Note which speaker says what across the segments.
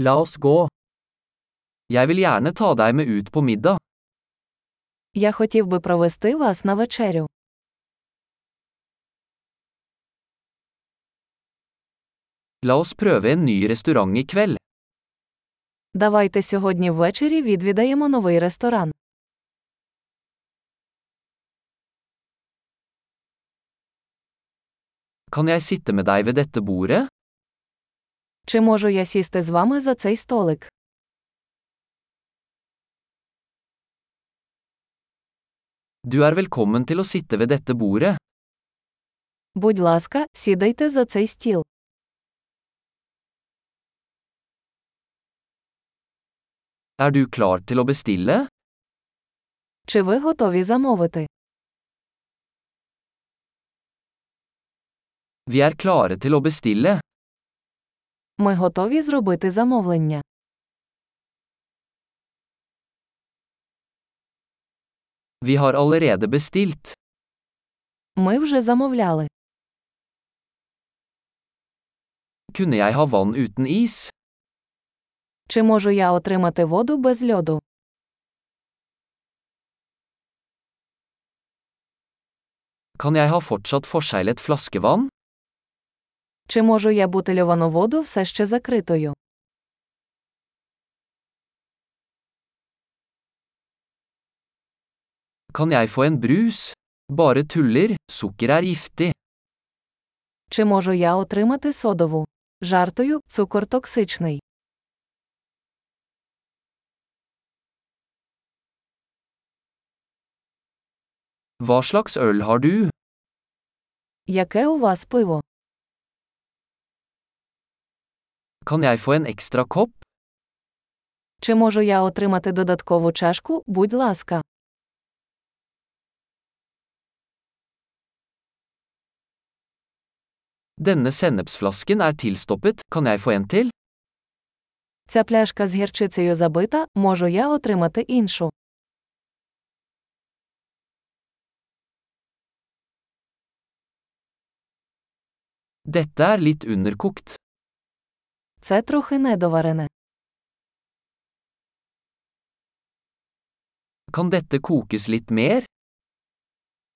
Speaker 1: La oss gå. Jeg vil gjerne ta deg med ut på middag.
Speaker 2: Я хотів би провести вас на вечерю.
Speaker 1: La oss prøve en ny restaurant i kveld.
Speaker 2: Давайте сьогодні ввечері відвідаємо новий ресторан.
Speaker 1: Kan jeg sitte med deg ved dette bordet?
Speaker 2: Чи можу я сісти з вами за цей столик?
Speaker 1: Du er velkommen til å sitte ved dette bordet.
Speaker 2: Будь ласка, сідайте за цей стіл.
Speaker 1: Er du klar til å bestille?
Speaker 2: Чи ви готові замовити?
Speaker 1: Vi er klare til å bestille.
Speaker 2: Ми готові зробити замовлення.
Speaker 1: Vi har allerede bestilt.
Speaker 2: Ми вже замовляли.
Speaker 1: Kunne jeg ha vann uten is?
Speaker 2: Чи можу я отримати воду без льоду?
Speaker 1: Kan jeg ha fortsatt forseglet flaskevann?
Speaker 2: Чи можу я бутильовану воду все ще закритою?
Speaker 1: Kan jeg få en brus? Bare tuller, sukker er giftig.
Speaker 2: Чи можу я отримати содову? Жартою, цукор токсичний.
Speaker 1: Hva slags øl har du?
Speaker 2: Яке у вас пиво?
Speaker 1: Kan jeg få en ekstra kopp?
Speaker 2: Чи можу я отримати додаткову чашку, будь ласка.
Speaker 1: Denne sennepsflasken er tilstoppet, kan jeg få en til?
Speaker 2: Ця пляшка з гірчицею забита, можу я отримати іншу.
Speaker 1: Dette er litt underkokt.
Speaker 2: Це трохи недоварене.
Speaker 1: Kan dette kokes litt mer?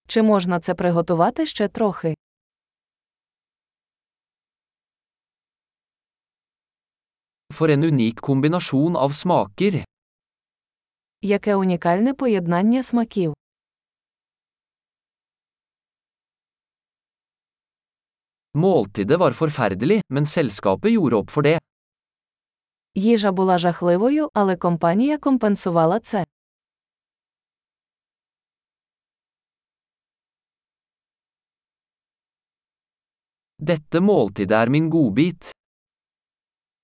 Speaker 2: Чи можна це приготувати ще трохи?
Speaker 1: For en unik kombinasjon av smaker.
Speaker 2: Яке унікальне поєднання смаків.
Speaker 1: Måltidet var forferdelig, men selskapet gjorde opp for det.
Speaker 2: Їжа була жахливою, але компанія компенсувала це.
Speaker 1: Dette måltidet er min godbit.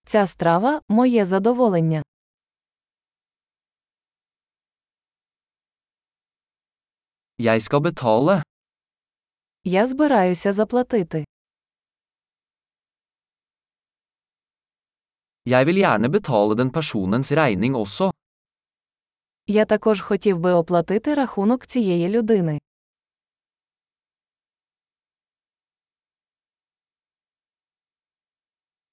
Speaker 2: Ця страва моє задоволення.
Speaker 1: Jeg skal betale.
Speaker 2: Я збираюся заплатити.
Speaker 1: Jeg vil gjerne betale den personens regning også.
Speaker 2: Я також хотів би оплатити рахунок цієї людини.